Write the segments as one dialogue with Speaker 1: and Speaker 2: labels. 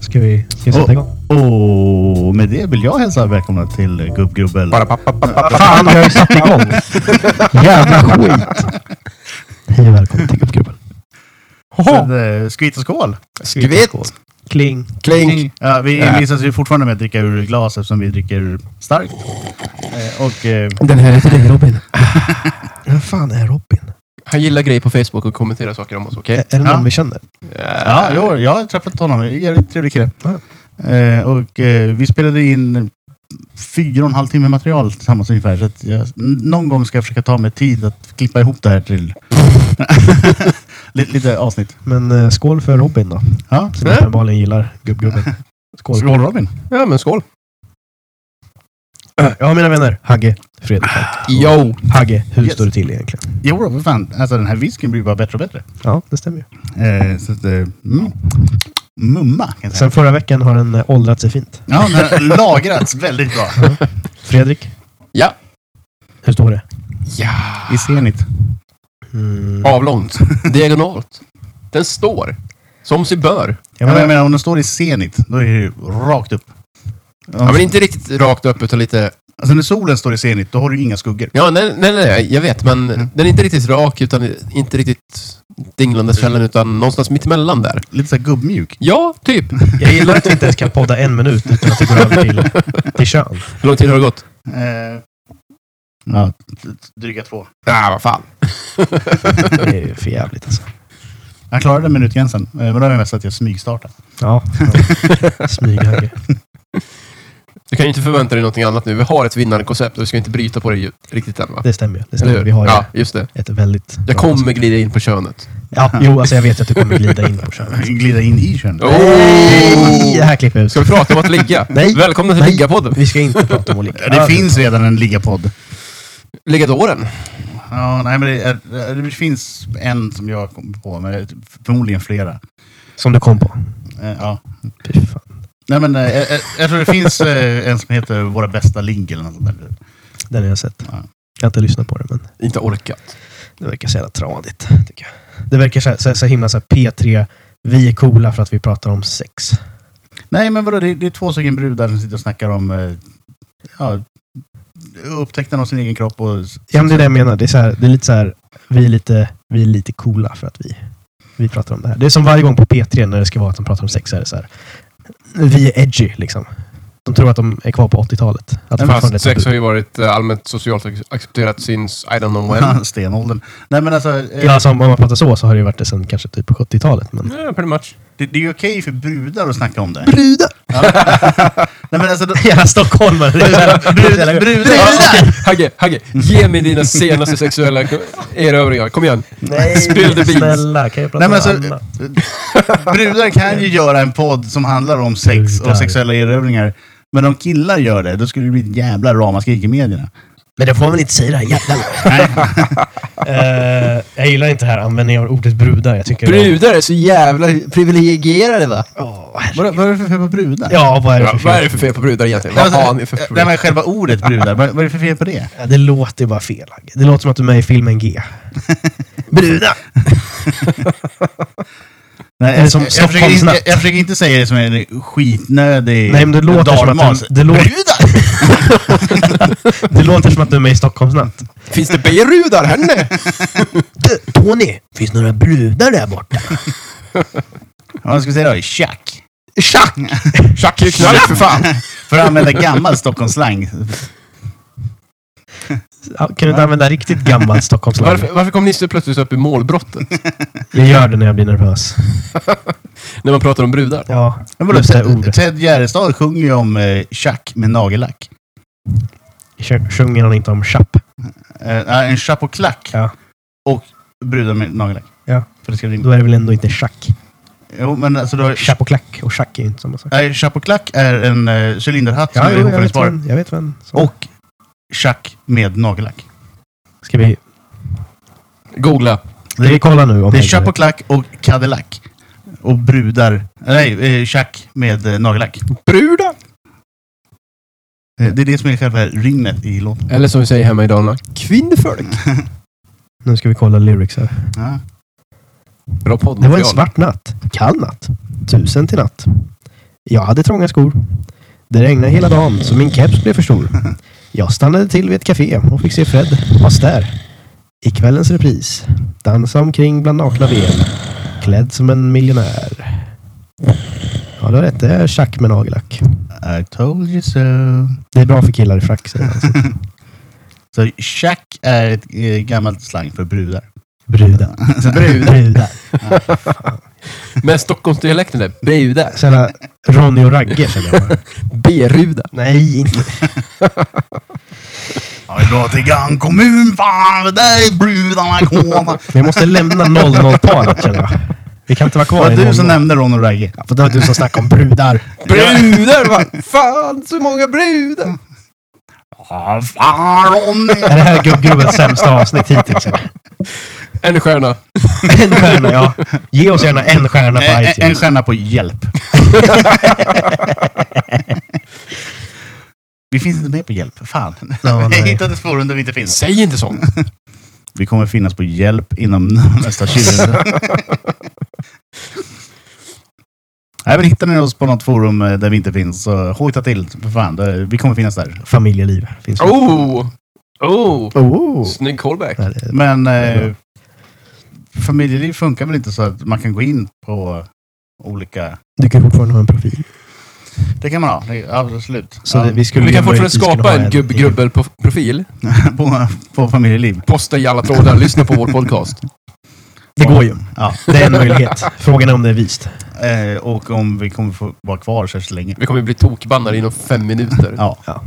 Speaker 1: Ska vi, ska vi sätta
Speaker 2: Och,
Speaker 1: igång?
Speaker 2: och med det vill jag hälsa välkomna till Gubbgubbel.
Speaker 3: Bara papp, papp, papp, papp.
Speaker 1: Fan, vi har ju satt igång! Jävla skit! Hej och välkommen till Gubbgubben.
Speaker 2: Med, eh, Skvitt och skål!
Speaker 3: Skvitt!
Speaker 1: Kling.
Speaker 3: Klink!
Speaker 2: Ja, vi
Speaker 3: Ja.
Speaker 2: envisas ju fortfarande med att dricka ur glas eftersom vi dricker starkt. Eh, Och eh,
Speaker 1: Den här är till dig Robin. Vem fan är Robin?
Speaker 3: Han gillar grejer på Facebook och kommenterar saker om oss, okej? Eh,
Speaker 1: Är det någon
Speaker 2: Ja.
Speaker 1: vi känner?
Speaker 2: ja, jo, jag har träffat honom. Det är en Jävligt trevlig kille. Eh, Och eh, vi spelade in fyra och en halv timme material tillsammans ungefär. Så att jag, n- någon gång ska jag försöka ta mig tid att klippa ihop det här till lite, lite avsnitt.
Speaker 1: Men eh, skål för Robin då.
Speaker 2: Ja,
Speaker 1: Som uppenbarligen gillar gubbgubben. Skål.
Speaker 2: skål Robin!
Speaker 3: Ja, men skål!
Speaker 1: Ja, mina vänner. Hagge, Fredrik.
Speaker 3: Yo!
Speaker 1: Hagge, hur
Speaker 2: Yes.
Speaker 1: står det till egentligen?
Speaker 2: Jo, då, för fan. Alltså den här whiskyn blir bara bättre och bättre.
Speaker 1: Ja, det stämmer ju.
Speaker 2: Eh, så att, eh, mm. Mumma kan jag säga.
Speaker 1: Sen förra veckan har den eh, åldrats sig fint.
Speaker 2: Ja, den har lagrats väldigt bra.
Speaker 1: Fredrik,
Speaker 3: Ja!
Speaker 1: hur står det?
Speaker 3: Ja!
Speaker 2: I Zenit. Mm.
Speaker 3: Avlångt. Diagonalt. Den står. Som sig bör.
Speaker 2: Ja, men jag menar, om den står i Zenit, då är det ju rakt upp.
Speaker 3: Ja, men inte riktigt rakt upp, utan lite...
Speaker 2: Alltså när solen står i Zenit, då har du inga skuggor.
Speaker 3: Ja, nej, nej, nej, jag vet, men den är inte riktigt rak, utan inte riktigt dinglandes fällen, utan någonstans mittemellan där.
Speaker 2: Lite såhär gubbmjuk.
Speaker 3: Ja, typ.
Speaker 1: Jag gillar att vi inte ens kan podda en minut utan att det går över till, till kön.
Speaker 3: Hur lång tid har det gått?
Speaker 2: Eh, ja, d- d- dryga två.
Speaker 3: Ja, vad fan.
Speaker 1: Det är ju för jävligt alltså.
Speaker 2: Jag klarade minutgränsen, eh, men då är det mest att jag smygstartar.
Speaker 1: Ja. Smyghöger.
Speaker 3: Du kan ju inte förvänta dig någonting annat nu. Vi har ett vinnarkoncept och vi ska inte bryta på det ju- riktigt än, va?
Speaker 1: Det stämmer ju. Det
Speaker 3: Eller
Speaker 1: stämmer.
Speaker 3: hur?
Speaker 1: Vi har ju
Speaker 3: ja, just det.
Speaker 1: ett väldigt...
Speaker 3: Jag kommer glida in på könet.
Speaker 1: Ja, jo, alltså jag vet att du kommer glida in på könet.
Speaker 2: Glida in i könet.
Speaker 1: Nej, Det här klipper jag ut.
Speaker 3: Ska vi prata om att ligga?
Speaker 1: Nej.
Speaker 3: Välkomna till
Speaker 1: Nej.
Speaker 3: Ligga-podden.
Speaker 1: Vi ska inte prata om att ligga.
Speaker 2: Det finns redan en ligapodd.
Speaker 3: Ligadoren.
Speaker 2: Ja, nej, men det, är, det finns en som jag kom på, men det är förmodligen flera.
Speaker 1: Som du kom på.
Speaker 2: Eh, ja.
Speaker 1: Fy fan.
Speaker 2: Nej, men, eh, eh, jag tror det finns eh, en som heter Våra bästa link eller något sånt där.
Speaker 1: Den har jag sett.
Speaker 2: Ja.
Speaker 1: Jag har inte lyssnat på det, men
Speaker 3: Inte orkat.
Speaker 1: det verkar så jävla tradigt. Tycker jag. Det verkar så, så, så himla så här P3. Vi är coola för att vi pratar om sex.
Speaker 2: Nej, men vadå, det, det är två stycken brudar som sitter och snackar om eh, ja, upptäckten av sin egen kropp och...
Speaker 1: Ja, men det är det jag menar. Det är, så här, det är lite så här, vi är lite, vi är lite coola för att vi, vi pratar om det här. Det är som varje gång på P3 när det ska vara att de pratar om sex, så är det så här, vi är edgy liksom. De tror att de är kvar på 80-talet. Att det
Speaker 2: Men
Speaker 1: fortfarande är
Speaker 3: Sex
Speaker 1: tabu.
Speaker 3: har ju varit eh, allmänt socialt ac- accepterat since I don't know when.
Speaker 2: Ja, Stenåldern. Nej, men alltså, eh,
Speaker 1: Ja, alltså, om man pratar så, så har det ju varit det sen kanske typ på 70-talet. Men...
Speaker 3: Ja, pretty much.
Speaker 2: det, det är ju okej för brudar att snacka om det.
Speaker 1: Brudar!
Speaker 2: Nej, men alltså, de,
Speaker 1: Jävla stockholmare! Det är så här- det är så
Speaker 2: brud,
Speaker 1: här-
Speaker 2: brudar!
Speaker 3: Hagge, Hagge, ge mig dina senaste sexuella erövringar. Kom igen. Spill the beans.
Speaker 1: snälla, kan jag prata
Speaker 2: Nej, men alltså,
Speaker 1: om annat?
Speaker 2: brudar kan ju göra en podd som handlar om sex
Speaker 1: Brudar.
Speaker 2: och sexuella erövringar. Men om killar gör det, då skulle det bli ett jävla ramaskrik i medierna.
Speaker 1: Men det får man väl inte säga det här jävlarna. Eh, jag gillar inte det här användningen av ordet brudar. Jag tycker det är-
Speaker 3: Brudar är så jävla privilegierade va?
Speaker 1: Åh,
Speaker 2: Vad vad är det för fel på brudar?
Speaker 1: Ja, vad är det för
Speaker 3: Ja,
Speaker 1: fel?
Speaker 3: vad är det för fel på brudar egentligen?
Speaker 2: Nej,
Speaker 3: Vad
Speaker 2: men
Speaker 3: har
Speaker 2: alltså,
Speaker 3: ni för
Speaker 2: det här
Speaker 3: problem?
Speaker 2: med själva ordet brudar, vad vad är det för fel på det?
Speaker 1: Ja, det låter bara fel. Agge. Det låter som att du är med i filmen G. Brudar!
Speaker 2: Nej,
Speaker 1: Eller
Speaker 2: jag,
Speaker 1: eh, som
Speaker 2: jag, jag, försöker inte,
Speaker 1: Stockholmsnatt.
Speaker 2: jag försöker inte säga det som en skitnödig
Speaker 1: Nej, men det låter som att
Speaker 2: dalmas.
Speaker 1: den- det låter-
Speaker 2: Brudar!
Speaker 1: Det låter som att du är med i Stockholmsnatt.
Speaker 3: Finns det berudar här inne?
Speaker 1: Du, Tony! Finns några brudar där borta?
Speaker 2: Vad ska vi säga då? Tjack.
Speaker 1: Tjack!
Speaker 3: Tjack är ju knark för fan.
Speaker 2: För att använda gammal Stockholmsslang.
Speaker 1: Ja, Kan du inte använda riktigt gammal Stockholmsland?
Speaker 3: Varför, varför kom Nisse plötsligt upp i målbrottet?
Speaker 1: Jag gör det när jag blir nervös.
Speaker 3: När man pratar om brudar?
Speaker 1: Ja.
Speaker 2: Men vadå,
Speaker 1: Just det här ordet.
Speaker 2: Ted, Ted Gärdestad sjunger ju om eh, tjack med nagellack.
Speaker 1: Kör- Sjunger han inte om chapp?
Speaker 2: Eh, en chapp och klack.
Speaker 1: Ja.
Speaker 2: Och brudar med nagellack.
Speaker 1: Ja.
Speaker 2: För det ska bli...
Speaker 1: Då är det väl ändå inte schack?
Speaker 2: Jo, men alltså då...
Speaker 1: Chapp och klack och schack är ju inte samma sak.
Speaker 2: Nej, Chapp och klack är en eh, cylinderhatt som
Speaker 1: Ja,
Speaker 2: är
Speaker 1: jo, jag vet
Speaker 2: ihopfällningsbar.
Speaker 1: vem. Jag vet vem. Så.
Speaker 2: Och tjack med nagellack.
Speaker 1: Ska vi,
Speaker 3: Googla.
Speaker 1: ska vi kolla nu om
Speaker 2: Det är
Speaker 1: jag-
Speaker 2: Chapp och klack och Cadillac. Och brudar... Nej, eh, tjack med eh, nagellack.
Speaker 3: Brudar!
Speaker 2: Eh, Det är det som är själva rinnet i låten.
Speaker 3: Eller som vi säger hemma i Dalarna, kvinnfolk.
Speaker 1: Nu ska vi kolla lyrics här.
Speaker 2: Ja.
Speaker 3: Bra
Speaker 1: Det var en
Speaker 3: poddmaterial.
Speaker 1: svart natt. Kall natt. Tusen till natt. Jag hade trånga skor. Det regnade hela dagen, så min keps blev för stor. Jag stannade till vid ett café och fick se Fred Astaire. I kvällens repris. Dansa omkring bland nakna ben. Klädd som en miljonär. Ja, du har rätt. Det är schack med nagellack.
Speaker 2: I told you so.
Speaker 1: Det är bra för killar i frack, säger han.
Speaker 2: Så shack är ett eh, gammalt slang för brudar.
Speaker 1: Brudar.
Speaker 3: Brudar.
Speaker 1: Brudar.
Speaker 3: Med Stockholmsdialekten där. Brudar.
Speaker 1: Sådana Ronny och Ragge, känner jag bara.
Speaker 3: Beruda.
Speaker 1: Nej, inte.
Speaker 2: Ja, vi drar till Gang kommun, fan, det där är brudarna kommer.
Speaker 1: Vi måste lämna 00-talet, känner jag. Vi kan inte vara
Speaker 2: Det
Speaker 1: kvar
Speaker 2: var
Speaker 1: i
Speaker 2: du
Speaker 1: 00.
Speaker 2: som nämnde Ron och Ragge.
Speaker 1: För det var du som snackade om brudar.
Speaker 3: Brudar! Va? Fan, så många brudar!
Speaker 2: Ja, fan Ronny.
Speaker 1: Är det här gubbgrubbens sämsta avsnitt hittills? eller?
Speaker 3: En stjärna.
Speaker 1: En stjärna, ja. Ge oss gärna en stjärna på
Speaker 2: Eh, En
Speaker 1: iTunes.
Speaker 2: stjärna på hjälp. vi finns inte med på hjälp. Fan.
Speaker 1: Ja,
Speaker 2: Jag
Speaker 1: nej.
Speaker 2: hittade spåren där vi inte finns.
Speaker 3: Säg inte sånt.
Speaker 2: Vi kommer finnas på hjälp inom nästa 20 Nej, men hittar ni oss på något forum eh, där vi inte finns, så hojta till. För fan, det- vi kommer finnas där.
Speaker 1: Familjeliv finns det.
Speaker 3: Oh! Oh!
Speaker 1: Oh.
Speaker 3: Snygg callback.
Speaker 1: Ja, det-
Speaker 2: Men
Speaker 1: är
Speaker 2: eh, familjeliv funkar väl inte så att man kan gå in på olika...
Speaker 1: Du kan fortfarande ha en profil.
Speaker 2: Det kan man ha, det, absolut.
Speaker 1: Så
Speaker 2: ja,
Speaker 1: det, vi, skulle
Speaker 3: Vi
Speaker 1: ju
Speaker 3: kan fortfarande
Speaker 1: möjligtvis kunna
Speaker 3: skapa
Speaker 1: ha
Speaker 3: en gubbgrubbel-profil.
Speaker 2: på, på familjeliv.
Speaker 3: Posta i alla trådar, lyssna på vår podcast.
Speaker 1: Det går ju.
Speaker 2: Ja.
Speaker 1: Det är en möjlighet. Frågan är om det är vist.
Speaker 2: Eh, och om vi kommer få vara kvar så, så länge.
Speaker 3: Vi kommer bli tokbannade inom fem minuter.
Speaker 2: Ja.
Speaker 1: Ja.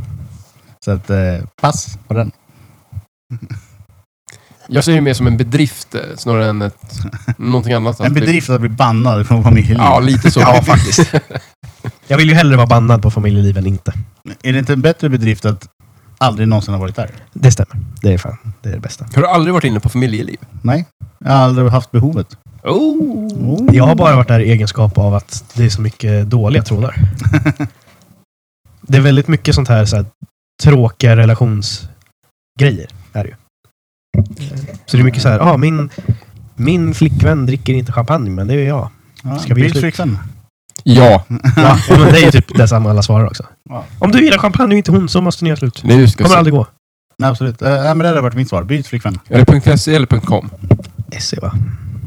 Speaker 2: Så att, eh, pass på den.
Speaker 3: Jag ser det mer som en bedrift eh, snarare än ett, någonting annat.
Speaker 2: En
Speaker 3: Att vi-
Speaker 2: bedrift att bli bannad från familjeliv.
Speaker 3: Ja, lite så.
Speaker 1: Ja, faktiskt. Jag vill ju hellre vara bannad på familjeliv än inte.
Speaker 2: Är det inte en bättre bedrift att aldrig någonsin ha varit där?
Speaker 1: Det stämmer. Det är fan. Det är det bästa.
Speaker 3: Har du aldrig varit inne på familjeliv?
Speaker 2: Nej, jag har aldrig haft behovet.
Speaker 3: Oh!
Speaker 1: Jag har bara varit där i egenskap av att det är så mycket dåliga trådar. det är väldigt mycket sånt här, så här tråkiga relationsgrejer. Är det ju. Så det är mycket så här, ah, min, min flickvän dricker inte champagne, men det är jag.
Speaker 2: Ja,
Speaker 1: Ska vi
Speaker 2: Bills
Speaker 1: sluta?
Speaker 2: flickvän.
Speaker 3: Ja,
Speaker 1: Ja, men det är ju typ det som alla svarar också.
Speaker 2: Ja.
Speaker 1: Om du gillar champagne och inte hon så måste ni göra slut.
Speaker 3: nu ska vi
Speaker 1: kommer
Speaker 3: se.
Speaker 1: aldrig gå.
Speaker 2: Nej, absolut. Eh, nej, men det hade varit mitt svar. Byt flickvän.
Speaker 3: Är det .se eller .com?
Speaker 1: SE E, va?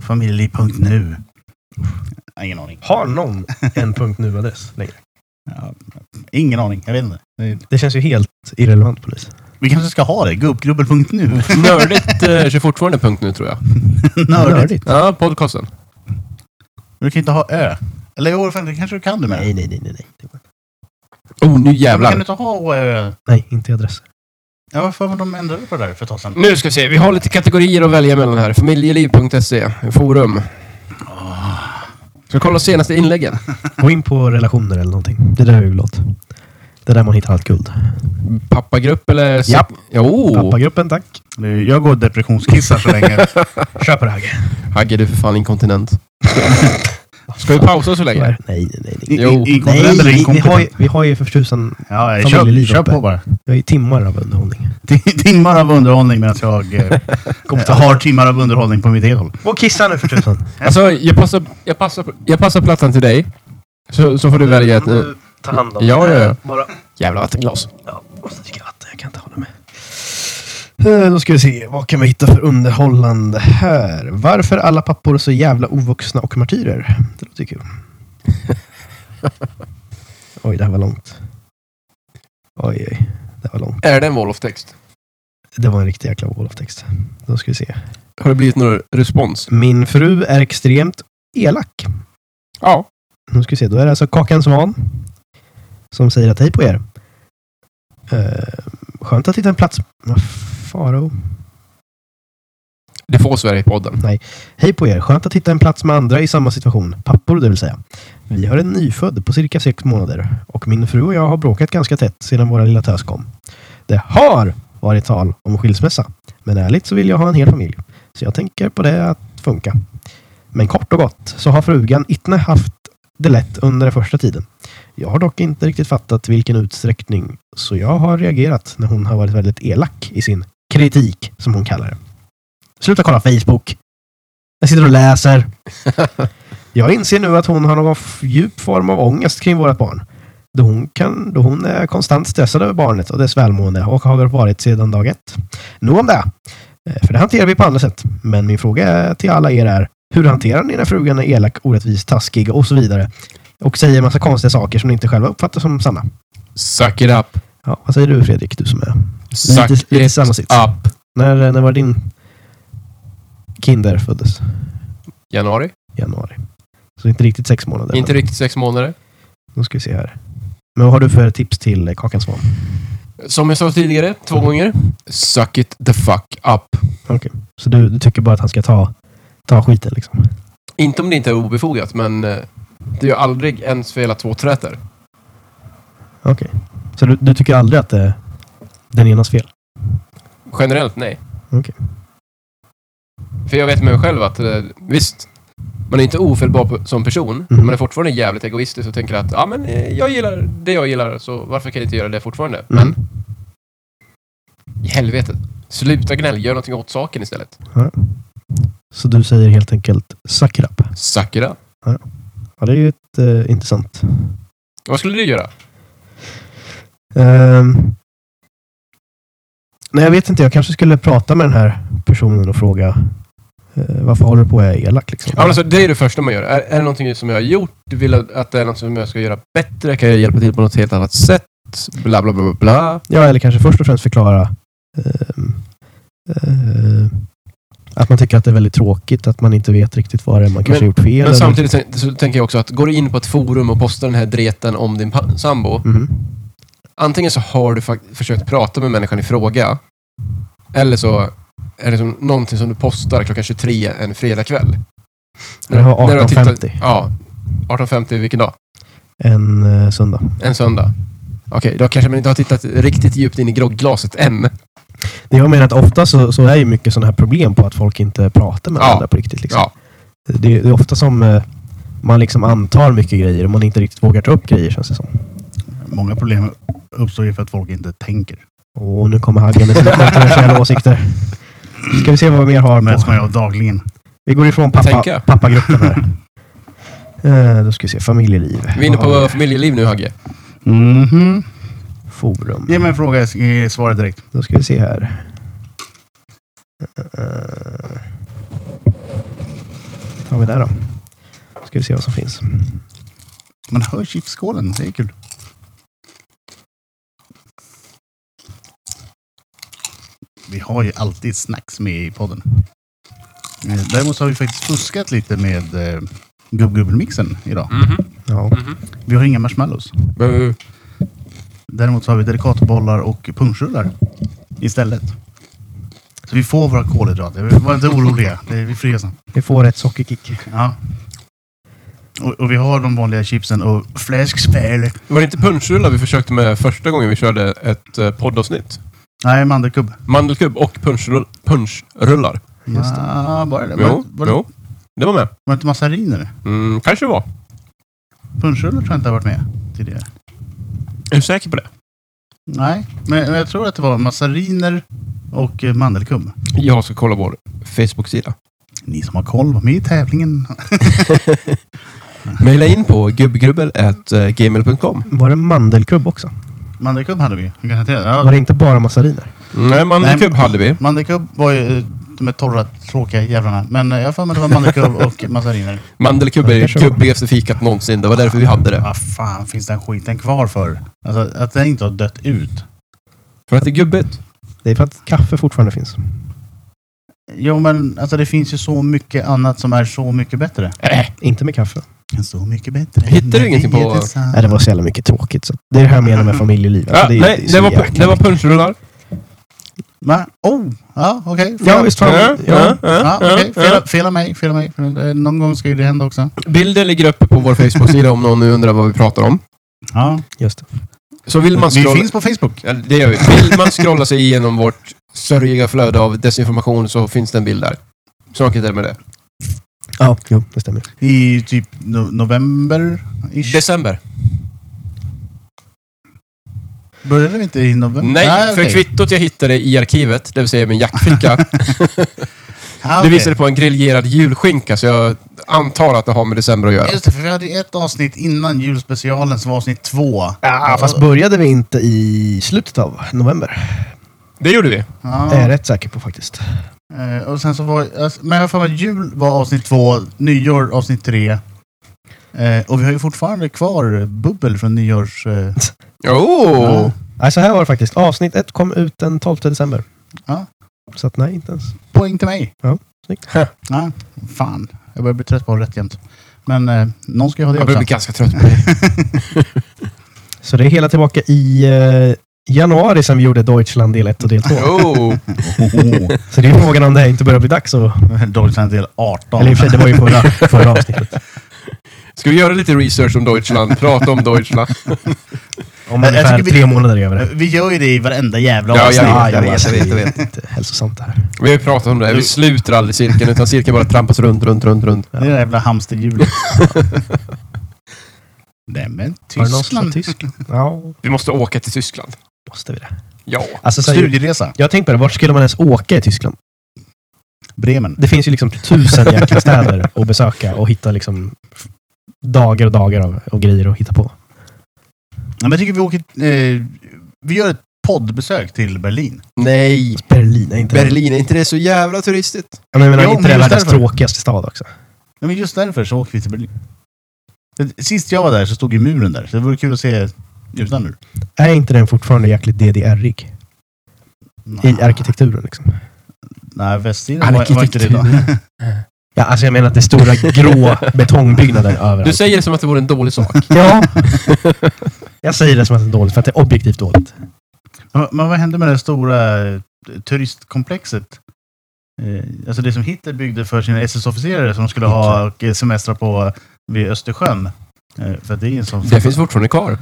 Speaker 2: Familjeliv.nu. Nej, Ingen aning.
Speaker 1: Har någon en punkt nu-adress längre?
Speaker 2: Ja, ingen aning. Jag vet inte. Det-
Speaker 1: Det känns ju helt irrelevant polis.
Speaker 2: Vi kanske ska ha det. Gubbgrubbel.nu.
Speaker 3: Nördigt eh, kör fortfarande .nu tror jag.
Speaker 2: Nördigt.
Speaker 3: Ja, podcasten.
Speaker 2: Du kan inte ha ö. Eller jo, fan, det kanske du kan du med.
Speaker 1: Nej, nej, nej, nej. nej. Det var-
Speaker 3: Oh, nu
Speaker 2: Jävlar. Kan du
Speaker 3: jävlar.
Speaker 2: inte ha å, ö?
Speaker 1: Nej, inte adress.
Speaker 2: Ja, varför har de ändrat på det där för ett tag sedan?
Speaker 3: Nu ska vi se, vi har lite kategorier att välja mellan här. Familjeliv.se, E. forum. Ska vi kolla senaste inläggen?
Speaker 1: Gå in på relationer eller någonting. Det där är ju låt. Det är där man hittar allt guld.
Speaker 3: Pappagrupp eller... sek-
Speaker 1: Japp.
Speaker 3: Jo!
Speaker 1: Pappagruppen, tack.
Speaker 2: Nu, Jag går och depressionskissar så länge.
Speaker 1: Kör på det Hagge.
Speaker 3: Hagge, du är för fan inkontinent. Ska vi pausa så länge?
Speaker 1: Nej, nej, nej.
Speaker 2: I-
Speaker 1: nej.
Speaker 2: i-
Speaker 3: Jo.
Speaker 2: Inkontinent
Speaker 1: nej vi, vi,
Speaker 2: eller
Speaker 1: har ju,
Speaker 2: inkompetent?
Speaker 1: vi har ju för tusan
Speaker 2: Ja, jag kör,
Speaker 1: familjeliv
Speaker 2: kör
Speaker 1: uppe.
Speaker 2: på bara.
Speaker 1: vi har ju timmar av underhållning.
Speaker 2: Tim- Timmar av underhållning medan jag eh, har timmar av underhållning på mitt eget håll.
Speaker 1: Gå och kissa nu för tusan.
Speaker 3: Alltså, jag passar, jag passar, jag passar plattan till dig. Så, så får du välja ett... eh,
Speaker 1: ta hand
Speaker 3: om Ja, det. ja, ja.
Speaker 1: Bara,
Speaker 3: Jävla vattenglas.
Speaker 1: ja, måste dricka vatten. Jag kan inte hålla med. Eh, Då ska vi se, vad kan vi hitta för underhållande här? Varför är alla pappor så jävla ovuxna och martyrer? Det låter ju kul. Oj, det här var långt. Oj, oj, det var långt.
Speaker 3: Är det en wall of text?
Speaker 1: Det var en riktig jäkla wall of text. Då ska vi se.
Speaker 3: Har det blivit någon respons?
Speaker 1: Min fru är extremt elak.
Speaker 3: Ja.
Speaker 1: Nu ska vi se. Då är det alltså Kakan Svan som säger att hej på er. Uh, skönt att hitta en plats. Vad Faro.
Speaker 3: Det får Sverigepodden.
Speaker 1: Hej på er. Skönt att hitta en plats med andra i samma situation. Pappor, det vill säga. Vi har en nyfödd på cirka sex månader och min fru och jag har bråkat ganska tätt sedan våra lilla tös kom. Det har varit tal om skilsmässa, men ärligt så vill jag ha en hel familj. Så jag tänker på det att funka. Men kort och gott så har frugan inte haft det lätt under den första tiden. Jag har dock inte riktigt fattat vilken utsträckning, så jag har reagerat när hon har varit väldigt elak i sin kritik, som hon kallar det. Sluta kolla Facebook! Jag sitter och läser. Jag inser nu att hon har någon f- djup form av ångest kring vårt barn. Då hon, kan, då hon är konstant stressad över barnet och dess välmående och har varit sedan dag ett. Nog om det. Eh, För det hanterar vi på andra sätt. Men min fråga till alla er är, hur hanterar ni när frugan är elak, orättvis, taskig och så vidare? Och säger massa konstiga saker som ni inte själva uppfattar som sanna.
Speaker 3: Suck it up.
Speaker 1: Ja, vad säger du Fredrik, du som är
Speaker 3: Suck
Speaker 1: lite
Speaker 3: it
Speaker 1: samma sits.
Speaker 3: up.
Speaker 1: När, när var din Kinder föddes?
Speaker 3: Januari.
Speaker 1: Januari. Så inte riktigt sex månader.
Speaker 3: Inte riktigt sex månader.
Speaker 1: Nu ska vi se här. Men vad har du för tips till eh, Kakan Svan?
Speaker 3: Som jag sa tidigare, två gånger. Suck it the fuck up.
Speaker 1: Så du, du tycker bara att han ska ta, ta skiten liksom?
Speaker 3: Inte om det inte är obefogat, men eh, det är ju aldrig ens för hela två träter.
Speaker 1: Okej. Så du, du tycker aldrig att det är den enas fel?
Speaker 3: Generellt nej.
Speaker 1: Okej.
Speaker 3: För jag vet med mig själv att eh, visst, man är inte ofelbar på- som person, men man är fortfarande jävligt egoistisk och tänker att ja, men eh, jag gillar det jag gillar, så varför kan jag inte göra det fortfarande?
Speaker 1: Mm.
Speaker 3: Men i helvete, sluta gnäll, gör någonting åt saken istället.
Speaker 1: Så du säger helt enkelt suck it up.
Speaker 3: Suck it up.
Speaker 1: Ja, det är ju ett, eh, intressant.
Speaker 3: Vad skulle du göra?
Speaker 1: Ehm. nej, jag vet inte. Jag kanske skulle prata med den här personen och fråga eh, varför håller du på att vara elak? Liksom?
Speaker 3: Ja, men alltså, det är det första man gör. Är, är det någonting som jag har gjort? Du vill att att det är något som jag ska göra bättre? Kan jag hjälpa till på något helt annat sätt? Bla, bla, bla, bla, bla.
Speaker 1: Ja, eller kanske först och främst förklara ehm, eh, att man tycker att det är väldigt tråkigt, att man inte vet riktigt vad det är man kanske
Speaker 3: Men-
Speaker 1: gjort fel. eller-
Speaker 3: Men samtidigt tän- så tänker jag också att går du in på ett forum och postar den här dreten om din pa- sambo,
Speaker 1: Mhm.
Speaker 3: antingen så har du fakt- försökt prata med människan i fråga, eller så är det som någonting som du postar klockan 23 en fredagkväll.
Speaker 1: Det var
Speaker 3: När du har tittat-
Speaker 1: 18.50,
Speaker 3: Ja, 18.50 vilken dag?
Speaker 1: en eh, söndag.
Speaker 3: En söndag. Okej, då kanske man inte har tittat riktigt djupt in i grogglaset än.
Speaker 1: Det jag menar att ofta så, så är ju mycket sådana här problem på att folk inte pratar med
Speaker 3: Ja.
Speaker 1: varandra på riktigt. Liksom.
Speaker 3: Ja.
Speaker 1: Det, det är ofta som eh, man liksom antar mycket grejer och man inte riktigt vågar ta upp grejer känns det som.
Speaker 2: Många problem uppstår ju för att folk inte tänker.
Speaker 1: Och nu kommer Hagge med sina kontroversiella åsikter. Ska vi se vad vi mer har på.
Speaker 2: Möts man ju av dagligen.
Speaker 1: Vi går ifrån
Speaker 3: Tänka.
Speaker 1: pappa, pappagruppen här. Eh, Då ska vi se, familjeliv.
Speaker 3: Vi är inne
Speaker 1: Vad har
Speaker 3: på familjeliv nu, Hagge.
Speaker 2: Mhm.
Speaker 1: vi? Forum.
Speaker 2: Ge mig en fråga, jag ska ge svar direkt.
Speaker 1: Då ska vi se här. Eh, tar vi där då. Då ska vi se vad som finns.
Speaker 2: Man hör chipsskålen, det är kul. Vi har ju alltid snacks med i podden. Eh, Däremot så har vi faktiskt fuskat lite med eh, gubbgubbelmixen idag.
Speaker 1: Ja.
Speaker 3: Mm-hmm.
Speaker 2: Vi har inga marshmallows. Däremot så har vi delikatbollar och punschrullar istället. Så vi får våra kolhydrater. Var inte oroliga. Det är vi fria sen.
Speaker 1: Vi får ett sockerkick.
Speaker 2: Ja. Och, och vi har de vanliga chipsen och fläskspel.
Speaker 3: Var det inte punschrullar vi försökte med första gången vi körde ett eh, poddavsnitt?
Speaker 2: Nej, mandelkubb.
Speaker 3: Mandelkubb och punschrull- punschrullar.
Speaker 1: Just det.
Speaker 2: Ja, Ah, bara det. Var,
Speaker 3: Jo,
Speaker 2: var, var
Speaker 3: jo, det var med.
Speaker 2: det inte massariner?
Speaker 3: Mm, kanske det var.
Speaker 2: Punschrullar tror jag inte har varit med tidigare.
Speaker 3: Är du säker på det?
Speaker 2: Nej, men men jag tror att det var massariner och eh, mandelkubb.
Speaker 3: Jag ska kolla vår Facebook-sida.
Speaker 2: Ni som har koll, var med i tävlingen.
Speaker 3: Maila in på gubbgrubbel.gmail.com
Speaker 1: Var det mandelkubb också?
Speaker 2: Mandelkubb hade vi ju. Jag kan hantera det. Ja,
Speaker 1: Var det inte bara massariner?
Speaker 3: Nej, mandelkubb hade vi.
Speaker 2: Mandelkubb var ju eh, de här torra, tråkiga jävlarna. Men eh, jag har för mig det var mandelkubb och massariner.
Speaker 3: Mandelkubb är ju
Speaker 1: Kanske det var.
Speaker 3: gubbigaste fikat någonsin. Det var därför vi hade det.
Speaker 2: Vad fan finns den skiten kvar för? Alltså, att den inte har dött ut.
Speaker 3: För att det är gubbigt.
Speaker 1: Det är för att kaffe fortfarande finns.
Speaker 2: Jo, men alltså, det finns ju så mycket annat som är så mycket bättre.
Speaker 3: Äh.
Speaker 1: Inte med kaffe.
Speaker 2: Så mycket bättre.
Speaker 3: Hittar du
Speaker 2: När
Speaker 3: ingenting
Speaker 2: vi är
Speaker 3: på-
Speaker 2: tillsammans.
Speaker 1: Nej, det var så jävla mycket tråkigt. Så det är det här jag menar med familjeliv. Alltså,
Speaker 3: Ja,
Speaker 1: är-
Speaker 3: nej,
Speaker 1: är så
Speaker 3: det var,
Speaker 1: jäkla
Speaker 3: det var
Speaker 1: viktigt.
Speaker 3: punschrullar.
Speaker 2: Va? Oh, ja okej. Fel-
Speaker 1: Ja, visst fan.
Speaker 3: Ja,
Speaker 1: Ja.
Speaker 3: ja,
Speaker 2: Ja,
Speaker 3: ja,
Speaker 2: okej.
Speaker 3: ja.
Speaker 2: Fel- Fel av mig, fel av mig. Eh, Någon gång ska ju det hända också.
Speaker 3: Bilder ligger uppe på vår Facebook-sida om någon nu undrar vad vi pratar om.
Speaker 2: Ja.
Speaker 1: Just det.
Speaker 3: Så vill man
Speaker 2: vi
Speaker 3: scrolla...
Speaker 2: finns på Facebook.
Speaker 3: Ja, det gör vi. Vill man scrolla sig igenom vårt sörjiga flöde av desinformation så finns det en bild där. Så enkelt är det med det.
Speaker 1: Ja, jo, det stämmer.
Speaker 2: I typ no- november -ish.
Speaker 3: December.
Speaker 2: Började vi inte i november? Ah,
Speaker 3: Nej, för
Speaker 2: okej.
Speaker 3: kvittot jag hittade i arkivet, det vill säga min jackficka,
Speaker 2: Ja,
Speaker 3: det
Speaker 2: Ah, okej.
Speaker 3: visade på en griljerad julskinka så jag antar att det har med december att göra.
Speaker 2: Just det, för vi hade ju ett avsnitt innan julspecialen som var avsnitt två.
Speaker 1: Ja, fast började vi inte i slutet av november?
Speaker 3: Det gjorde vi.
Speaker 2: Ja.
Speaker 1: Det är jag rätt säker på faktiskt.
Speaker 2: Eh, och sen så var, alltså, men jag har för mig att jul var avsnitt två, nyår avsnitt tre. Eh, och vi har ju fortfarande kvar bubbel från nyårs... Eh,
Speaker 3: Oh!
Speaker 2: Ja.
Speaker 1: Nej, så här var det faktiskt. Avsnitt ett kom ut den 12 december.
Speaker 2: Ja.
Speaker 1: Så att nej, inte ens.
Speaker 2: poäng till mig.
Speaker 1: Ja, snyggt.
Speaker 2: Ja, fan, jag börjar bli trött på att ha rätt jämt. Men eh, någon ska ju ha det
Speaker 3: Jag börjar
Speaker 2: också.
Speaker 3: bli ganska trött på
Speaker 1: Så det är hela tillbaka i eh, januari som vi gjorde Deutschland del 1 och del 2.
Speaker 3: Oh!
Speaker 1: Så det är frågan om det här inte börjar bli dags. Och,
Speaker 2: Dåligt sen del 18.
Speaker 1: eller i och för sig, det var ju förra, förra avsnittet.
Speaker 3: Ska vi göra lite research om Deutschland? Prata om Deutschland?
Speaker 1: Om
Speaker 2: Jag
Speaker 1: ungefär
Speaker 2: tycker vi-
Speaker 1: tre månader över
Speaker 2: Eh,
Speaker 1: det.
Speaker 2: Vi gör ju det i varenda jävla
Speaker 3: Ja, jag
Speaker 2: avsnitt.
Speaker 3: vet,
Speaker 1: Ja,
Speaker 3: jag
Speaker 1: jo,
Speaker 3: vet,
Speaker 1: alltså,
Speaker 3: jag vet, jag
Speaker 1: det är
Speaker 3: vet.
Speaker 1: Inte hälsosamt det här.
Speaker 3: Vi har ju pratat om det här. Vi sluter aldrig cirkeln, utan cirkeln bara trampas runt, runt, runt, runt.
Speaker 2: Det är det jävla hamsterhjulet. Nej men,
Speaker 1: Var det någon som sa
Speaker 2: Tyskland.
Speaker 1: Tyskland? Ja,
Speaker 3: Vi måste åka till Tyskland.
Speaker 1: måste vi det.
Speaker 3: Ja.
Speaker 1: Alltså, så, här-
Speaker 2: Studieresa.
Speaker 1: jag tänkte på det, vart skulle man ens åka i Tyskland?
Speaker 2: Bremen.
Speaker 1: Det finns ju liksom tusen jäkla städer att besöka och hitta liksom dagar och dagar av och grejer att hitta på.
Speaker 2: Ja, men jag tycker vi åker... Eh, vi gör ett poddbesök till Berlin.
Speaker 3: Nej.
Speaker 1: Berlin, är inte
Speaker 3: Berlin, är inte det så jävla turistigt?
Speaker 1: Jag menar, är
Speaker 2: Ja,
Speaker 1: inte
Speaker 2: men
Speaker 1: det
Speaker 2: just
Speaker 1: världens
Speaker 2: därför.
Speaker 1: tråkigaste stad också?
Speaker 2: Ja, men just därför så åker vi till Berlin. Det- Sist jag var där så stod ju muren där, så det vore kul att se utan mur.
Speaker 1: Är inte den fortfarande jäkligt DDR-ig? I arkitekturen liksom.
Speaker 2: Nej, västsidan var, var inte det då.
Speaker 1: Ja, alltså jag menar att det är stora grå betongbyggnader överallt.
Speaker 3: Du säger det som att det vore en dålig sak.
Speaker 1: Ja. jag säger det som att det är dåligt, för att det är objektivt dåligt.
Speaker 2: Men- Men vad hände med det stora eh, turistkomplexet? Eh, Alltså det som Hitler byggde för sina SS-officerare som de skulle ha och eh, semestra på vid Östersjön. Eh, För att det är en sån...
Speaker 3: Det finns fortfarande kvar.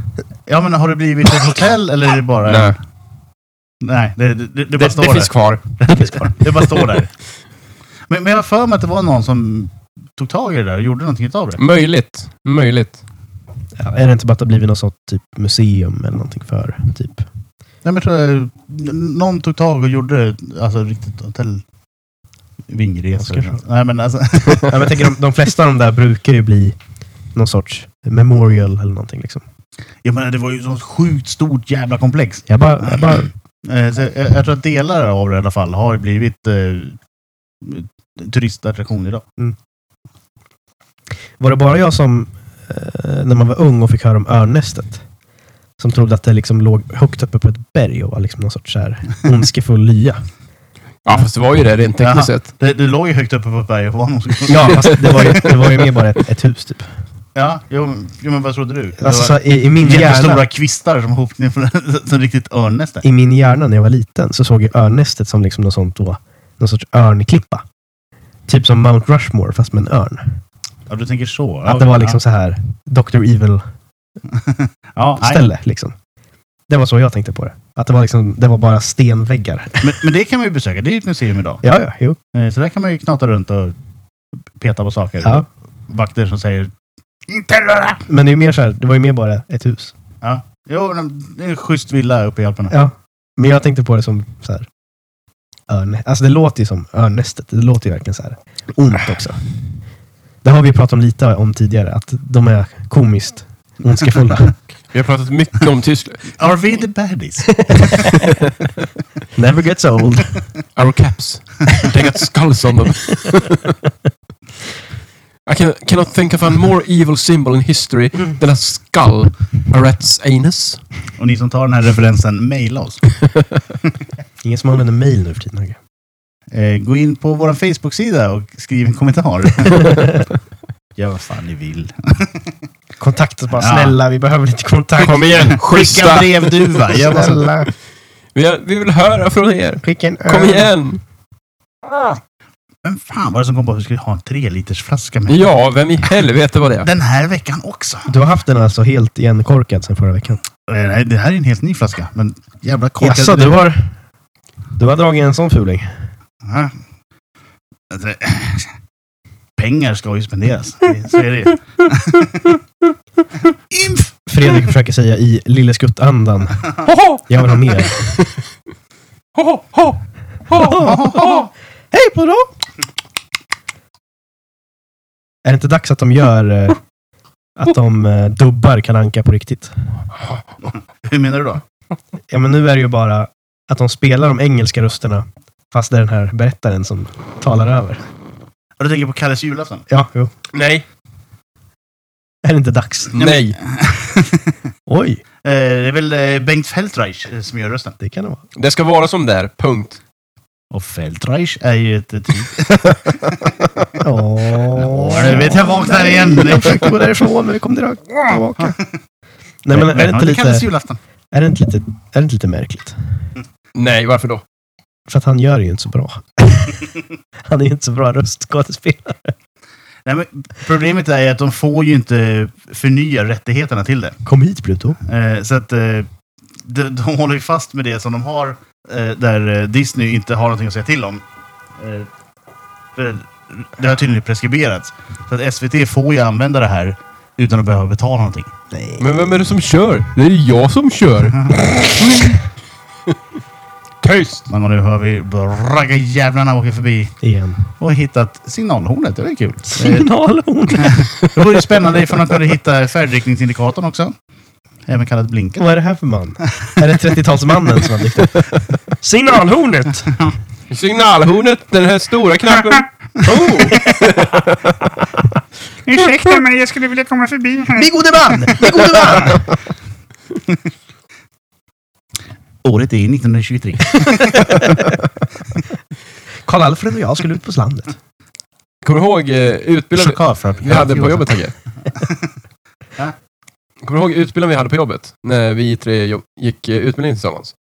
Speaker 2: Ja, men har det blivit ett hotell eller är det bara...
Speaker 3: Nej.
Speaker 2: Nej, det, det, det, det bara
Speaker 3: Det,
Speaker 2: står
Speaker 3: det
Speaker 2: där.
Speaker 3: finns kvar.
Speaker 1: Det finns kvar.
Speaker 2: Det bara står där. Men, men jag har för mig att det var någon som tog tag i det där och gjorde någonting utav det.
Speaker 3: Möjligt. Möjligt.
Speaker 1: Ja, är det inte bara att det har blivit något sånt typ museum eller någonting för typ?
Speaker 2: Nej, men jag tror jag, någon tog tag och gjorde alltså riktigt hotell... Vingresor.
Speaker 1: Oscarsson.
Speaker 2: Nej, men alltså...
Speaker 1: Ja, men jag tänker de, de flesta av de där brukar ju bli någon sorts memorial eller någonting liksom.
Speaker 2: Jag menar, det var ju ett sånt sjukt stort jävla komplex.
Speaker 1: Jag bara, jag bara
Speaker 2: Eh, så jag, jag tror att delar av det i alla fall har blivit eh, turistattraktion idag.
Speaker 1: Var det bara jag som, eh, när man var ung och fick höra om örnnästet, som trodde att det liksom låg högt uppe på ett berg och var liksom någon sorts så här ondskefull lya?
Speaker 3: Ja, fast det var ju det rent tekniskt sett.
Speaker 2: Det, det låg ju högt uppe på ett berg och var någon som...
Speaker 1: Ja, fast det var ju, det var ju mer bara ett, ett hus typ.
Speaker 2: Ja, jo, jo, men vad trodde du? Det
Speaker 1: Alltså,
Speaker 2: var
Speaker 1: så i, i, min hjärna,
Speaker 2: jättestora kvistar som hopknep som riktigt örnnäste.
Speaker 1: I min hjärna när jag var liten så såg jag örnnästet som liksom något sånt då, någon sorts örnklippa. Typ som Mount Rushmore fast med en örn.
Speaker 2: Ja, du tänker så.
Speaker 1: Att det var liksom så här Dr. Evil-ställe
Speaker 2: Ja, nej.
Speaker 1: liksom. Det var så jag tänkte på det. Att det var, liksom, det var bara stenväggar.
Speaker 2: men, men det kan man ju besöka. Det är ju ett museum idag.
Speaker 1: Ja, ja, jo.
Speaker 2: Eh, Så där kan man ju knata runt och peta på saker.
Speaker 1: Ja.
Speaker 2: Vakter som säger Inte röra!
Speaker 1: Men det, är ju mer så här, det var ju mer bara ett hus.
Speaker 2: Jo, men det är en schysst villa uppe i Alperna.
Speaker 1: Ja, men jag tänkte på det som så här. Örn, alltså det låter ju som örnnästet. Det låter ju verkligen så här ont också. Det har vi pratat om lite om tidigare, att de är komiskt ondskefulla.
Speaker 3: Vi har pratat mycket om Tyskland.
Speaker 2: Are we the baddies?
Speaker 1: Never gets old.
Speaker 3: Our caps. They got skulls on them. I can, cannot think of a more evil symbol in history than a skull. A rat's anus.
Speaker 2: och ni som tar den här referensen, mejla oss.
Speaker 1: Ingen som använder mail nu för tiden. Hagge.
Speaker 2: Eh, gå in på vår Facebook-sida och skriv en kommentar. Gör vad fan ni vill.
Speaker 1: Kontakta bara,
Speaker 2: Ja.
Speaker 1: snälla, vi behöver lite kontakt.
Speaker 3: Kom igen,
Speaker 2: Skicka
Speaker 3: schyssta!
Speaker 2: brevduva. Gör vad som...
Speaker 1: Snälla,
Speaker 3: Vi, har- vi vill höra från er.
Speaker 1: skicka en
Speaker 3: Kom
Speaker 1: öl.
Speaker 3: igen!
Speaker 2: Men fan var det som kom på att vi skulle ha en tre liters flaska med?
Speaker 3: Ja, vem i helvete var det?
Speaker 2: Den här veckan också.
Speaker 1: Du har haft den alltså helt igenkorkad sedan förra veckan?
Speaker 2: Eh, Nej, det här är en helt ny flaska. Men jävla korkad.
Speaker 1: Jaså, du har, du har dragit en sån fuling?
Speaker 2: Ja. Alltså, Pengar ska ju spenderas. Det- Så är det ju. Inf!
Speaker 1: Fredrik försöker säga i Lille Skutt-andan,
Speaker 3: Hoho!
Speaker 1: jag vill ha mer.
Speaker 3: Hoho! Hoho! Hoho!
Speaker 1: Hej på dem! Är det inte dags att de gör... eh, Att de eh, dubbar Kalanka på riktigt?
Speaker 2: Hur menar du då?
Speaker 1: Ja, men nu är det ju bara att de spelar de engelska rösterna, fast det är den här berättaren som talar över.
Speaker 2: Ja, Du tänker på Kalles julafton?
Speaker 1: Ja, jo.
Speaker 3: Nej.
Speaker 1: Är det inte dags?
Speaker 3: Nej.
Speaker 1: Oj,
Speaker 2: Eh, Det är väl eh, Bengt Feldreich eh, som gör rösten.
Speaker 1: det kan det vara.
Speaker 3: Det ska vara som där, punkt.
Speaker 2: Och Feldreich är ju ett... ett
Speaker 1: Åh,
Speaker 2: nu vet jag vaknar igen!
Speaker 1: Jag försökte gå därifrån, men vi kom direkt tillbaka. Nej, men är det inte
Speaker 2: till
Speaker 1: lite,
Speaker 2: Kalles julafton.
Speaker 1: är det inte lite, är det inte lite märkligt?
Speaker 3: Nej, varför då?
Speaker 1: För att han gör det ju inte så bra. Han är ju inte så bra röstskådespelare.
Speaker 2: Nej, men problemet är ju att de får ju inte förnya rättigheterna till det.
Speaker 1: Kom hit Pluto.
Speaker 2: Eh, Så att eh, de, de håller ju fast med det som de har, eh, där eh, Disney inte har någonting att säga till om. Eh, för Det har tydligen preskriberats. Så att SVT får ju använda det här utan att behöva betala någonting.
Speaker 1: Nej.
Speaker 3: Men vem är det som kör? Det är ju jag som kör. Tyst!
Speaker 2: Men nu hör vi raggarjävlarna åka förbi
Speaker 1: Igen.
Speaker 2: och hittat signalhornet. Det var ju kul. Eh,
Speaker 1: Signalhorn.
Speaker 2: Det vore ju spännande ifall de kunde hitta färdriktningsindikatorn också. Även kallat blinken.
Speaker 1: Vad är det här för man? Är det 30-talsmannen som har dykt upp? Signalhornet!
Speaker 3: Signalhornet, den här stora knappen. Oh!
Speaker 4: Ursäkta mig, jag skulle vilja komma förbi här.
Speaker 1: Vi gode man! Vi gode man!
Speaker 2: Året är 1923.
Speaker 1: Karl-Alfred och jag skulle ut på slandet.
Speaker 3: Kommer du ihåg eh, utbildade vi hade på jobbet, Hagge?
Speaker 2: Va?
Speaker 3: Kommer du ihåg utbildningen vi hade på jobbet? När vi tre jobb- gick eh, utbildningen tillsammans.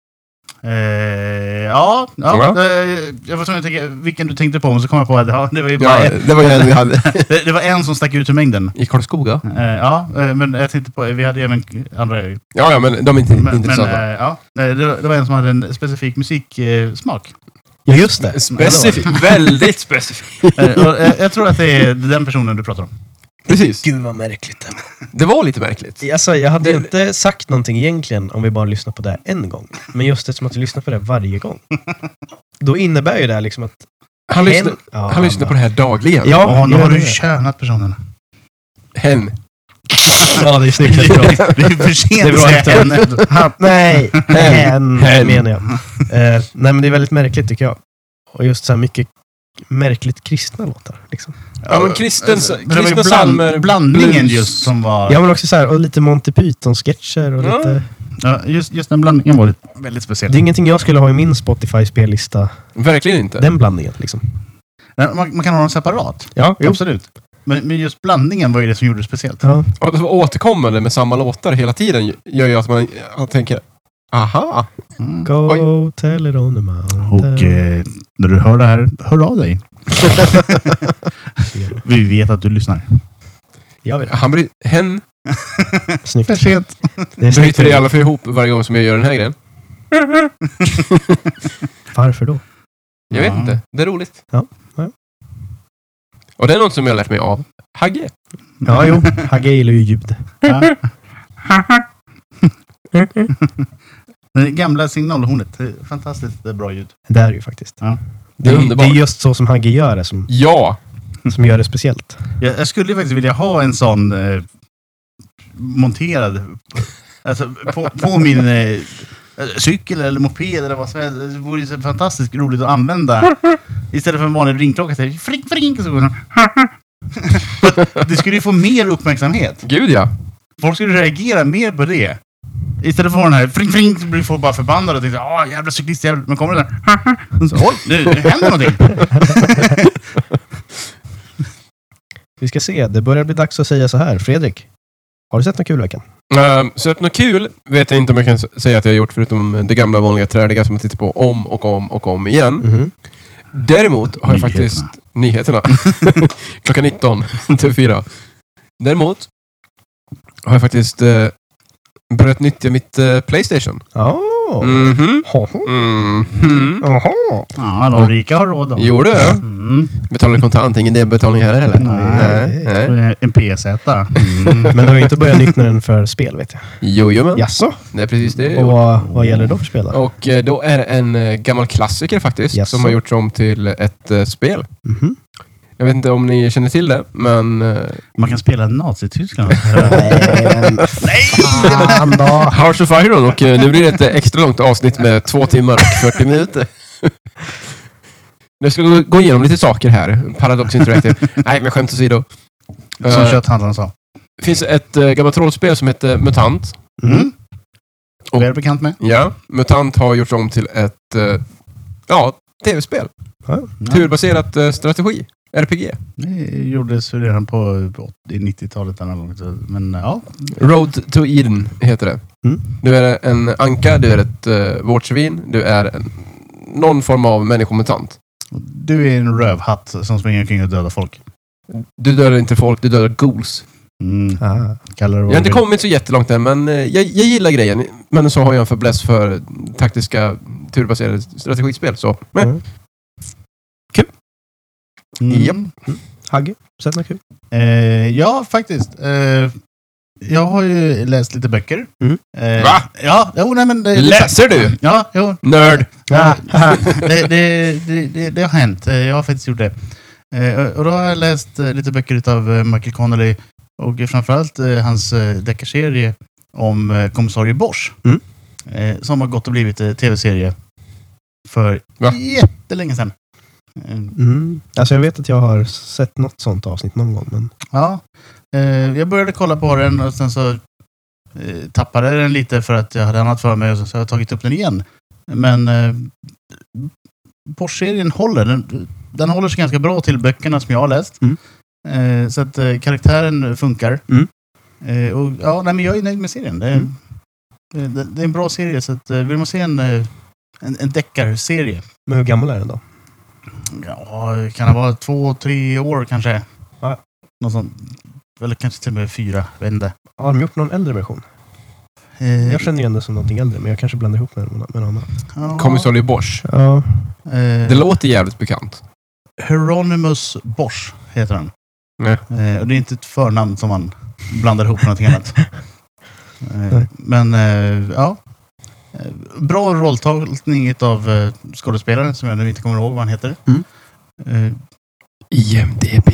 Speaker 2: Eh, ja, ja.
Speaker 3: Ja.
Speaker 2: Eh, jag var tvungen att tänka vilken du tänkte på, men så kom jag på att ja, det, var ju bara
Speaker 3: Ja, eh,
Speaker 2: en,
Speaker 3: det var ju den vi hade.
Speaker 2: det, det var en som stack ut ur mängden.
Speaker 3: I Karlskoga?
Speaker 2: Eh, ja, eh, men jag tänkte på, vi hade ju även andra. Men,
Speaker 3: Ja, ja, men de är inte
Speaker 2: men eh,
Speaker 3: intressanta.
Speaker 2: ja, Eh, det, var- det var en som hade en specifik eh, musiksmak.
Speaker 1: Ja, just det.
Speaker 3: Specifikt. Väldigt specifikt.
Speaker 2: Eh, och, eh, jag tror att det är den personen du pratar om.
Speaker 3: Precis.
Speaker 1: Gud vad märkligt.
Speaker 3: Det var lite märkligt.
Speaker 1: Alltså, jag hade
Speaker 3: Det-
Speaker 1: inte sagt någonting egentligen om vi bara lyssnar på det här en gång. Men just eftersom att vi lyssnar på det här varje gång. Då innebär ju det här liksom att...
Speaker 3: Han, lyssnar,
Speaker 1: en- ja,
Speaker 3: han lyssnar på det här dagligen.
Speaker 1: Ja,
Speaker 2: Ja, nu
Speaker 1: gör
Speaker 2: har du
Speaker 1: det.
Speaker 2: könat personerna.
Speaker 3: Hen.
Speaker 1: Ja, det är snyggt.
Speaker 2: Det
Speaker 1: Det är bra.
Speaker 2: är
Speaker 1: Det
Speaker 2: för
Speaker 1: är
Speaker 2: sent
Speaker 1: bra
Speaker 2: att säga
Speaker 1: efter.
Speaker 2: en. efter.
Speaker 1: Han, nej, hen
Speaker 3: Hen.
Speaker 1: menar jag. Eh, nej, men det är väldigt märkligt tycker jag. Och just så här mycket märkligt kristna låtar. Liksom.
Speaker 3: Ja, men kristen,
Speaker 2: Men det var ju
Speaker 3: kristna psalmer.
Speaker 2: blandningen
Speaker 3: blues.
Speaker 2: just som var...
Speaker 1: Ja, men också så här, och lite Monty Python-sketcher och
Speaker 3: Ja.
Speaker 1: lite...
Speaker 2: Ja, just, just den blandningen var väldigt speciell.
Speaker 1: Det är ingenting jag skulle ha i min Spotify-spellista.
Speaker 3: Verkligen inte.
Speaker 1: Den blandningen liksom.
Speaker 2: Nej, Eh, Man, man kan ha dem separat,
Speaker 1: Ja, jo.
Speaker 2: absolut. Men, men just blandningen var ju det som gjorde det speciellt.
Speaker 1: Ja.
Speaker 3: Och att vara återkommande med samma låtar hela tiden gör ju att man att tänker Aha!
Speaker 2: Mm.
Speaker 1: Go
Speaker 3: Oj.
Speaker 1: tell it on the mountain.
Speaker 2: Och eh, när du hör det här, hör av dig. Vi vet att du lyssnar.
Speaker 1: Jag vet.
Speaker 3: Han bry- hen
Speaker 1: Snyggt.
Speaker 2: För sent.
Speaker 1: Det är snyggt.
Speaker 3: bryter i alla fall ihop varje gång som jag gör den här grejen.
Speaker 1: Varför då?
Speaker 3: Jag vet
Speaker 2: Ja.
Speaker 3: inte. Det är roligt.
Speaker 1: Ja, ja.
Speaker 3: Och det är något som jag har lärt mig av Hagge.
Speaker 1: Ja, jo. Hagge gillar ju ljud.
Speaker 2: Ja. Det gamla signalhornet. Det är Fantastiskt det är bra ljud.
Speaker 1: Det är det ju faktiskt.
Speaker 3: Det är
Speaker 1: det
Speaker 3: underbart.
Speaker 1: är just så som Hagge gör det, som,
Speaker 3: Ja!
Speaker 1: som gör det speciellt.
Speaker 2: Jag, jag skulle ju faktiskt vilja ha en sån eh, monterad alltså, på, på min eh, cykel eller moped eller vad som helst. Det vore ju så fantastiskt roligt att använda. Istället för en vanlig ringklocka så är det frink, frink och så går den. Det skulle ju få mer uppmärksamhet.
Speaker 3: Gud ja!
Speaker 2: Folk skulle reagera mer på det. Istället för att ha den här frink, frink så blir folk bara förbannade och tänker ah jävla cyklist, jävla... Men kommer den där så, oj, nu nu händer någonting.
Speaker 1: Vi ska se, det börjar bli dags att säga så här. Fredrik, har du sett något kul i veckan?
Speaker 3: Ehm, så att något kul vet jag inte om jag kan s- säga att jag har gjort förutom det gamla vanliga träliga som jag tittar på om och om och om igen. Däremot har jag
Speaker 2: Nyheterna.
Speaker 3: faktiskt nyheterna. Klockan 19, till 4. Däremot har jag faktiskt eh, börjat nyttja mitt eh, Playstation.
Speaker 1: Ja.
Speaker 3: Mhm.
Speaker 1: Hoho.
Speaker 3: Mhm.
Speaker 1: Jaha.
Speaker 2: Ja, de rika har råd. då.
Speaker 3: Gjorde jag?
Speaker 2: Mm.
Speaker 3: Betalar kontant, ingen delbetalning här heller.
Speaker 2: Nej.
Speaker 3: Nej. Nej.
Speaker 2: Eh, En PZ. Mm.
Speaker 1: Men du har ju inte börjat nyttja den för spel, vet jag.
Speaker 3: Jojomän.
Speaker 1: Jaså?
Speaker 3: Det är precis det jag
Speaker 1: Och
Speaker 3: gjort.
Speaker 1: vad, vad gäller det då för spel? då?
Speaker 3: Och eh, då är det en eh, gammal klassiker faktiskt,
Speaker 1: Jaså.
Speaker 3: som har gjorts om till ett eh, spel.
Speaker 1: Mhm.
Speaker 3: Jag vet inte om ni känner till det, men... eh,
Speaker 2: Man kan spela Nazityskland.
Speaker 1: Fan då.
Speaker 3: Hearts of Iron och eh, nu blir det ett eh, extra långt avsnitt med två timmar och 40 minuter. Jag ska gå- gå igenom lite saker här. Paradox Interactive. Nej, men skämt åsido.
Speaker 2: som
Speaker 3: Eh,
Speaker 2: kötthandlarna sa.
Speaker 3: Det finns ett äh, gammalt rollspel som heter MUTANT.
Speaker 1: Mm.
Speaker 2: Och är du bekant med?
Speaker 3: Ja. MUTANT har gjorts om till ett eh, ja, tv-spel.
Speaker 2: Ja.
Speaker 3: Turbaserat eh, strategi. RPG.
Speaker 2: Det gjordes ju redan på 80-90-talet. den här gången, så- Men ja,
Speaker 3: Road to Eden heter det.
Speaker 1: Mm.
Speaker 3: Du är en anka, du är ett uh, vårdsvin, du är en, någon form av människomutant.
Speaker 2: du är en rövhatt som springer omkring och dödar folk.
Speaker 3: Du dödar inte folk, du dödar ghouls.
Speaker 2: Mm.
Speaker 1: Ah.
Speaker 2: Kallar det
Speaker 3: Jag
Speaker 2: vad
Speaker 3: har inte
Speaker 2: du vill.
Speaker 3: kommit så jättelångt än, men eh, jag, jag gillar grejen. Men så har jag en fäbless för taktiska turbaserade strategispel. Så. Men,
Speaker 1: Mm.
Speaker 2: Mm.
Speaker 3: Japp.
Speaker 1: Hagge, sett något kul?
Speaker 2: Eh, ja, faktiskt. Eh, jag har ju läst lite böcker.
Speaker 1: Mm.
Speaker 2: Eh,
Speaker 3: Va?
Speaker 2: Ja, jo, nej, men det,
Speaker 3: Läser du?
Speaker 2: Ja, jo.
Speaker 3: Nörd!
Speaker 2: Mm. Ja, det, det, det, det, det har hänt. Eh, Jag har faktiskt gjort det. Eh, och då har jag läst eh, lite böcker av Michael Connelly och framförallt eh, hans eh, deckarserie om eh, kommissarie Bosch.
Speaker 1: Mm.
Speaker 2: Eh, som har gått och blivit eh, tv-serie för
Speaker 3: Va?
Speaker 2: jättelänge sedan. Eh,
Speaker 1: Mm. Alltså jag vet att jag har sett något sånt avsnitt någon gång, men...
Speaker 2: Ja, eh, jag började kolla på den och sen så eh, tappade jag den lite för att jag hade annat för mig och så, så har jag tagit upp den igen. Men eh, Porsche-serien håller. Den, den håller sig ganska bra till böckerna som jag har läst.
Speaker 1: Mm.
Speaker 2: Eh, så att eh, karaktären funkar.
Speaker 1: Mm.
Speaker 2: Eh, och, ja, nej, men jag är nöjd med serien. Det är,
Speaker 1: Mm.
Speaker 2: det, det, det är en bra serie, så att, eh, vill man se en, eh, en, en deckarserie,
Speaker 1: Men hur gammal är den då?
Speaker 2: ja, kan det vara två, tre år kanske?
Speaker 1: Ja.
Speaker 2: Något sånt. Eller kanske till och med fyra, jag vet inte.
Speaker 1: Har de gjort någon äldre version?
Speaker 2: Eh,
Speaker 1: Jag känner igen det som någonting äldre, men jag kanske blandar ihop med med någon annan.
Speaker 2: ja,
Speaker 3: Kommissarie Bosch.
Speaker 1: Ja.
Speaker 2: eh,
Speaker 3: Det låter jävligt bekant.
Speaker 2: Hieronymus Bosch heter han.
Speaker 3: Nej.
Speaker 2: Eh, och det är inte ett förnamn som man blandar ihop med någonting annat. Eh,
Speaker 1: Nej.
Speaker 2: men eh, ja. Eh, Bra rolltolkning av eh, skådespelaren som jag nu inte kommer ihåg vad han heter.
Speaker 1: Mm.
Speaker 2: Eh,
Speaker 3: IMDB.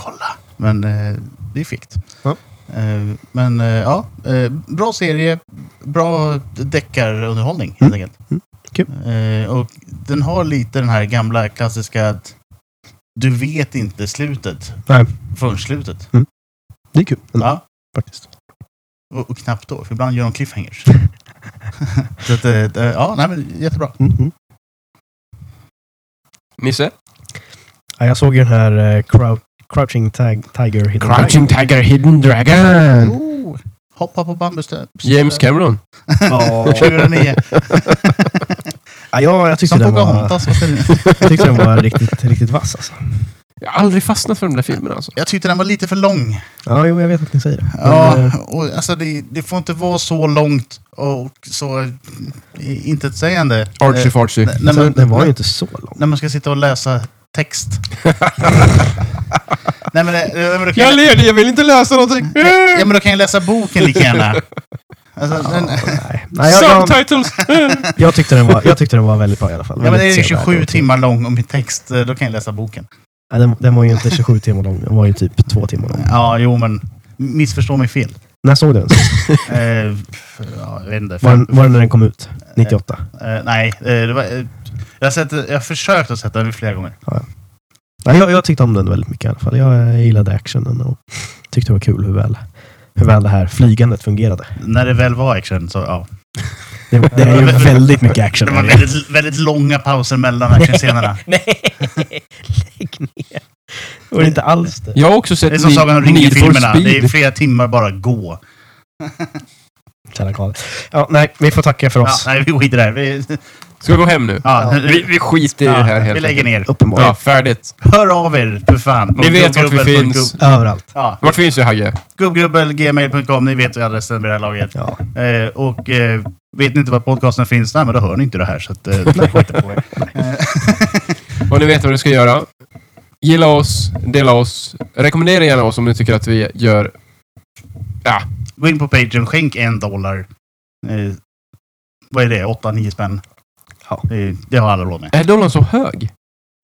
Speaker 2: kolla. Men eh, det är fikt.
Speaker 1: Ja.
Speaker 2: Eh, men eh, ja, eh, bra serie, bra deckarunderhållning helt
Speaker 1: Mm.
Speaker 2: enkelt.
Speaker 1: Mm. Kul.
Speaker 2: Eh, och den har lite den här gamla klassiska att du vet inte slutet
Speaker 1: Nej.
Speaker 2: förrän slutet.
Speaker 1: Det är kul ändå,
Speaker 2: Ja.
Speaker 1: faktiskt.
Speaker 2: Och, och knappt då, för ibland gör de cliffhangers. Så att, eh, eh, ja, nej, men jättebra.
Speaker 1: Mm, mm.
Speaker 3: Nisse?
Speaker 1: Ja, jag såg ju den här eh, Crou- Crouching Tag- Tiger Hidden
Speaker 3: Tiger Hidden
Speaker 1: Mm.
Speaker 3: Dragon.
Speaker 2: Oh, hoppa på bambustöp.
Speaker 3: James Cameron.
Speaker 1: Ja.
Speaker 2: 2009.
Speaker 1: Ja, jag, jag, tyckte
Speaker 2: Som
Speaker 1: den var,
Speaker 2: Pocahontas. vad säger ni?
Speaker 1: jag tyckte den var riktigt, riktigt vass alltså.
Speaker 3: Jag har aldrig fastnat för de där filmerna alltså.
Speaker 2: Jag tyckte den var lite för lång.
Speaker 1: Ja, jo, jag vet att ni säger det.
Speaker 2: Ja,
Speaker 1: Men, eh,
Speaker 2: och alltså det, det får inte vara så långt och så eh, intetsägande.
Speaker 3: Archie
Speaker 2: Eh,
Speaker 3: Farchie.
Speaker 2: när- när,
Speaker 1: alltså,
Speaker 2: man,
Speaker 1: den var ju inte så lång.
Speaker 2: när man ska sitta och läsa text. Nej men, eh, men, då kan jag,
Speaker 3: leder, jag vill inte läsa någonting. Eh,
Speaker 2: ja, men då kan Eh, jag läsa boken lika gärna. Alltså, den,
Speaker 1: Nej, Nej jag, jag,
Speaker 3: Subtitles. Eh.
Speaker 1: jag, tyckte den var, jag tyckte den var väldigt bra i alla fall.
Speaker 2: ja, men det
Speaker 1: Väldigt
Speaker 2: är
Speaker 1: sevärd
Speaker 2: 27
Speaker 1: och-
Speaker 2: timmar lång om min text, eh, då kan jag läsa boken.
Speaker 1: Nej, den, den var ju inte 27 timmar lång, den var ju typ två timmar lång.
Speaker 2: Ja, jo men missförstå mig fel.
Speaker 1: När såg du den?
Speaker 2: Eh, ja, jag vet inte.
Speaker 1: Var,
Speaker 2: Fem,
Speaker 1: den- var den när den kom ut? 98?
Speaker 2: eh, nej, eh, det var, eh, jag, har sett, jag har försökt att sätta den flera gånger.
Speaker 1: Nej, jag, jag tyckte om den väldigt mycket i alla fall. Jag eh, gillade actionen och tyckte det var kul hur väl, hur väl det här flygandet fungerade.
Speaker 2: När det väl var action så ja.
Speaker 1: Det, det är ju väldigt mycket action.
Speaker 2: Det var väldigt, väldigt långa pauser mellan actionscenerna.
Speaker 1: Nej, lägg ner. Det var inte alls det.
Speaker 3: Jag har också sett
Speaker 2: Det är som
Speaker 3: Need-
Speaker 2: Sagan om
Speaker 3: Need for
Speaker 2: ringen-filmerna. Det är
Speaker 3: Speed.
Speaker 2: flera timmar bara gå.
Speaker 1: Kära Karl. Ja, nej, vi får tacka för
Speaker 2: Ja,
Speaker 1: oss.
Speaker 2: nej, vi skiter där. Vi,
Speaker 3: Ska vi gå hem nu?
Speaker 2: ja,
Speaker 3: Vi, vi skiter i
Speaker 2: ja,
Speaker 3: det här helt
Speaker 2: Vi lägger
Speaker 3: enkelt.
Speaker 2: ner.
Speaker 1: Uppenbarligen.
Speaker 3: Ja, färdigt.
Speaker 2: Hör av er, för fan.
Speaker 3: Ni vet vart vi
Speaker 2: Gubbgubbel.
Speaker 3: finns.
Speaker 1: Överallt.
Speaker 2: Ja,
Speaker 3: Vart finns vi Hagge?
Speaker 2: gubbgubbel.gmail.com. Ni vet adressen vid det här laget.
Speaker 1: Ja.
Speaker 2: Eh, och eh, vet ni inte var podcasten finns? Nej, men då hör ni inte det här. Så att, eh, skit på er.
Speaker 3: Och ni vet vad ni ska göra. Gilla oss, dela oss, rekommendera gärna oss om ni tycker att vi gör... Ja,
Speaker 2: Gå in på pagen, skänk en dollar. Eh, vad är det? Åtta, nio spänn?
Speaker 1: Ja.
Speaker 2: Eh, det har alla råd med.
Speaker 3: är dollarn så hög?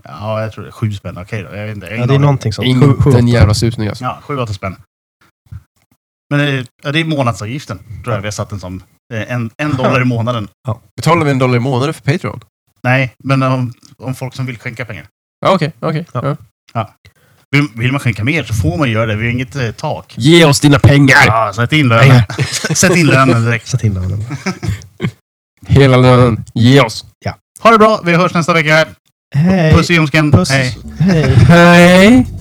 Speaker 2: Ja, jag tror det är sju spänn. Okej då. Jag vet inte. Jag har
Speaker 1: Ja,
Speaker 2: ingen
Speaker 1: det är
Speaker 2: aning.
Speaker 1: någonting sånt. Sju- sju-
Speaker 3: Inte en jävla susning alltså.
Speaker 2: Ja, sju, åtta spänn. Men det är, ja, det är månadsavgiften, tror jag vi har satt den som. Eh, En, en dollar i månaden.
Speaker 3: Betalar vi en dollar i månaden för Patreon?
Speaker 2: Nej, men om, om folk som vill skänka pengar.
Speaker 3: Ja, okej, okej.
Speaker 1: Ja.
Speaker 3: ja.
Speaker 2: Vill, vill man skänka mer så får man göra det. Vi har inget eh, tak.
Speaker 3: Ge oss dina pengar!
Speaker 2: Ja, sätt in lönen. sätt in lönen direkt.
Speaker 1: Sätt in den.
Speaker 3: Hela lönen. Ge oss!
Speaker 2: Ha det bra. Vi hörs nästa vecka.
Speaker 1: Hej!
Speaker 2: Puss i ljumsken.
Speaker 1: Puss.
Speaker 2: Hej.
Speaker 1: Hej.
Speaker 3: Hej!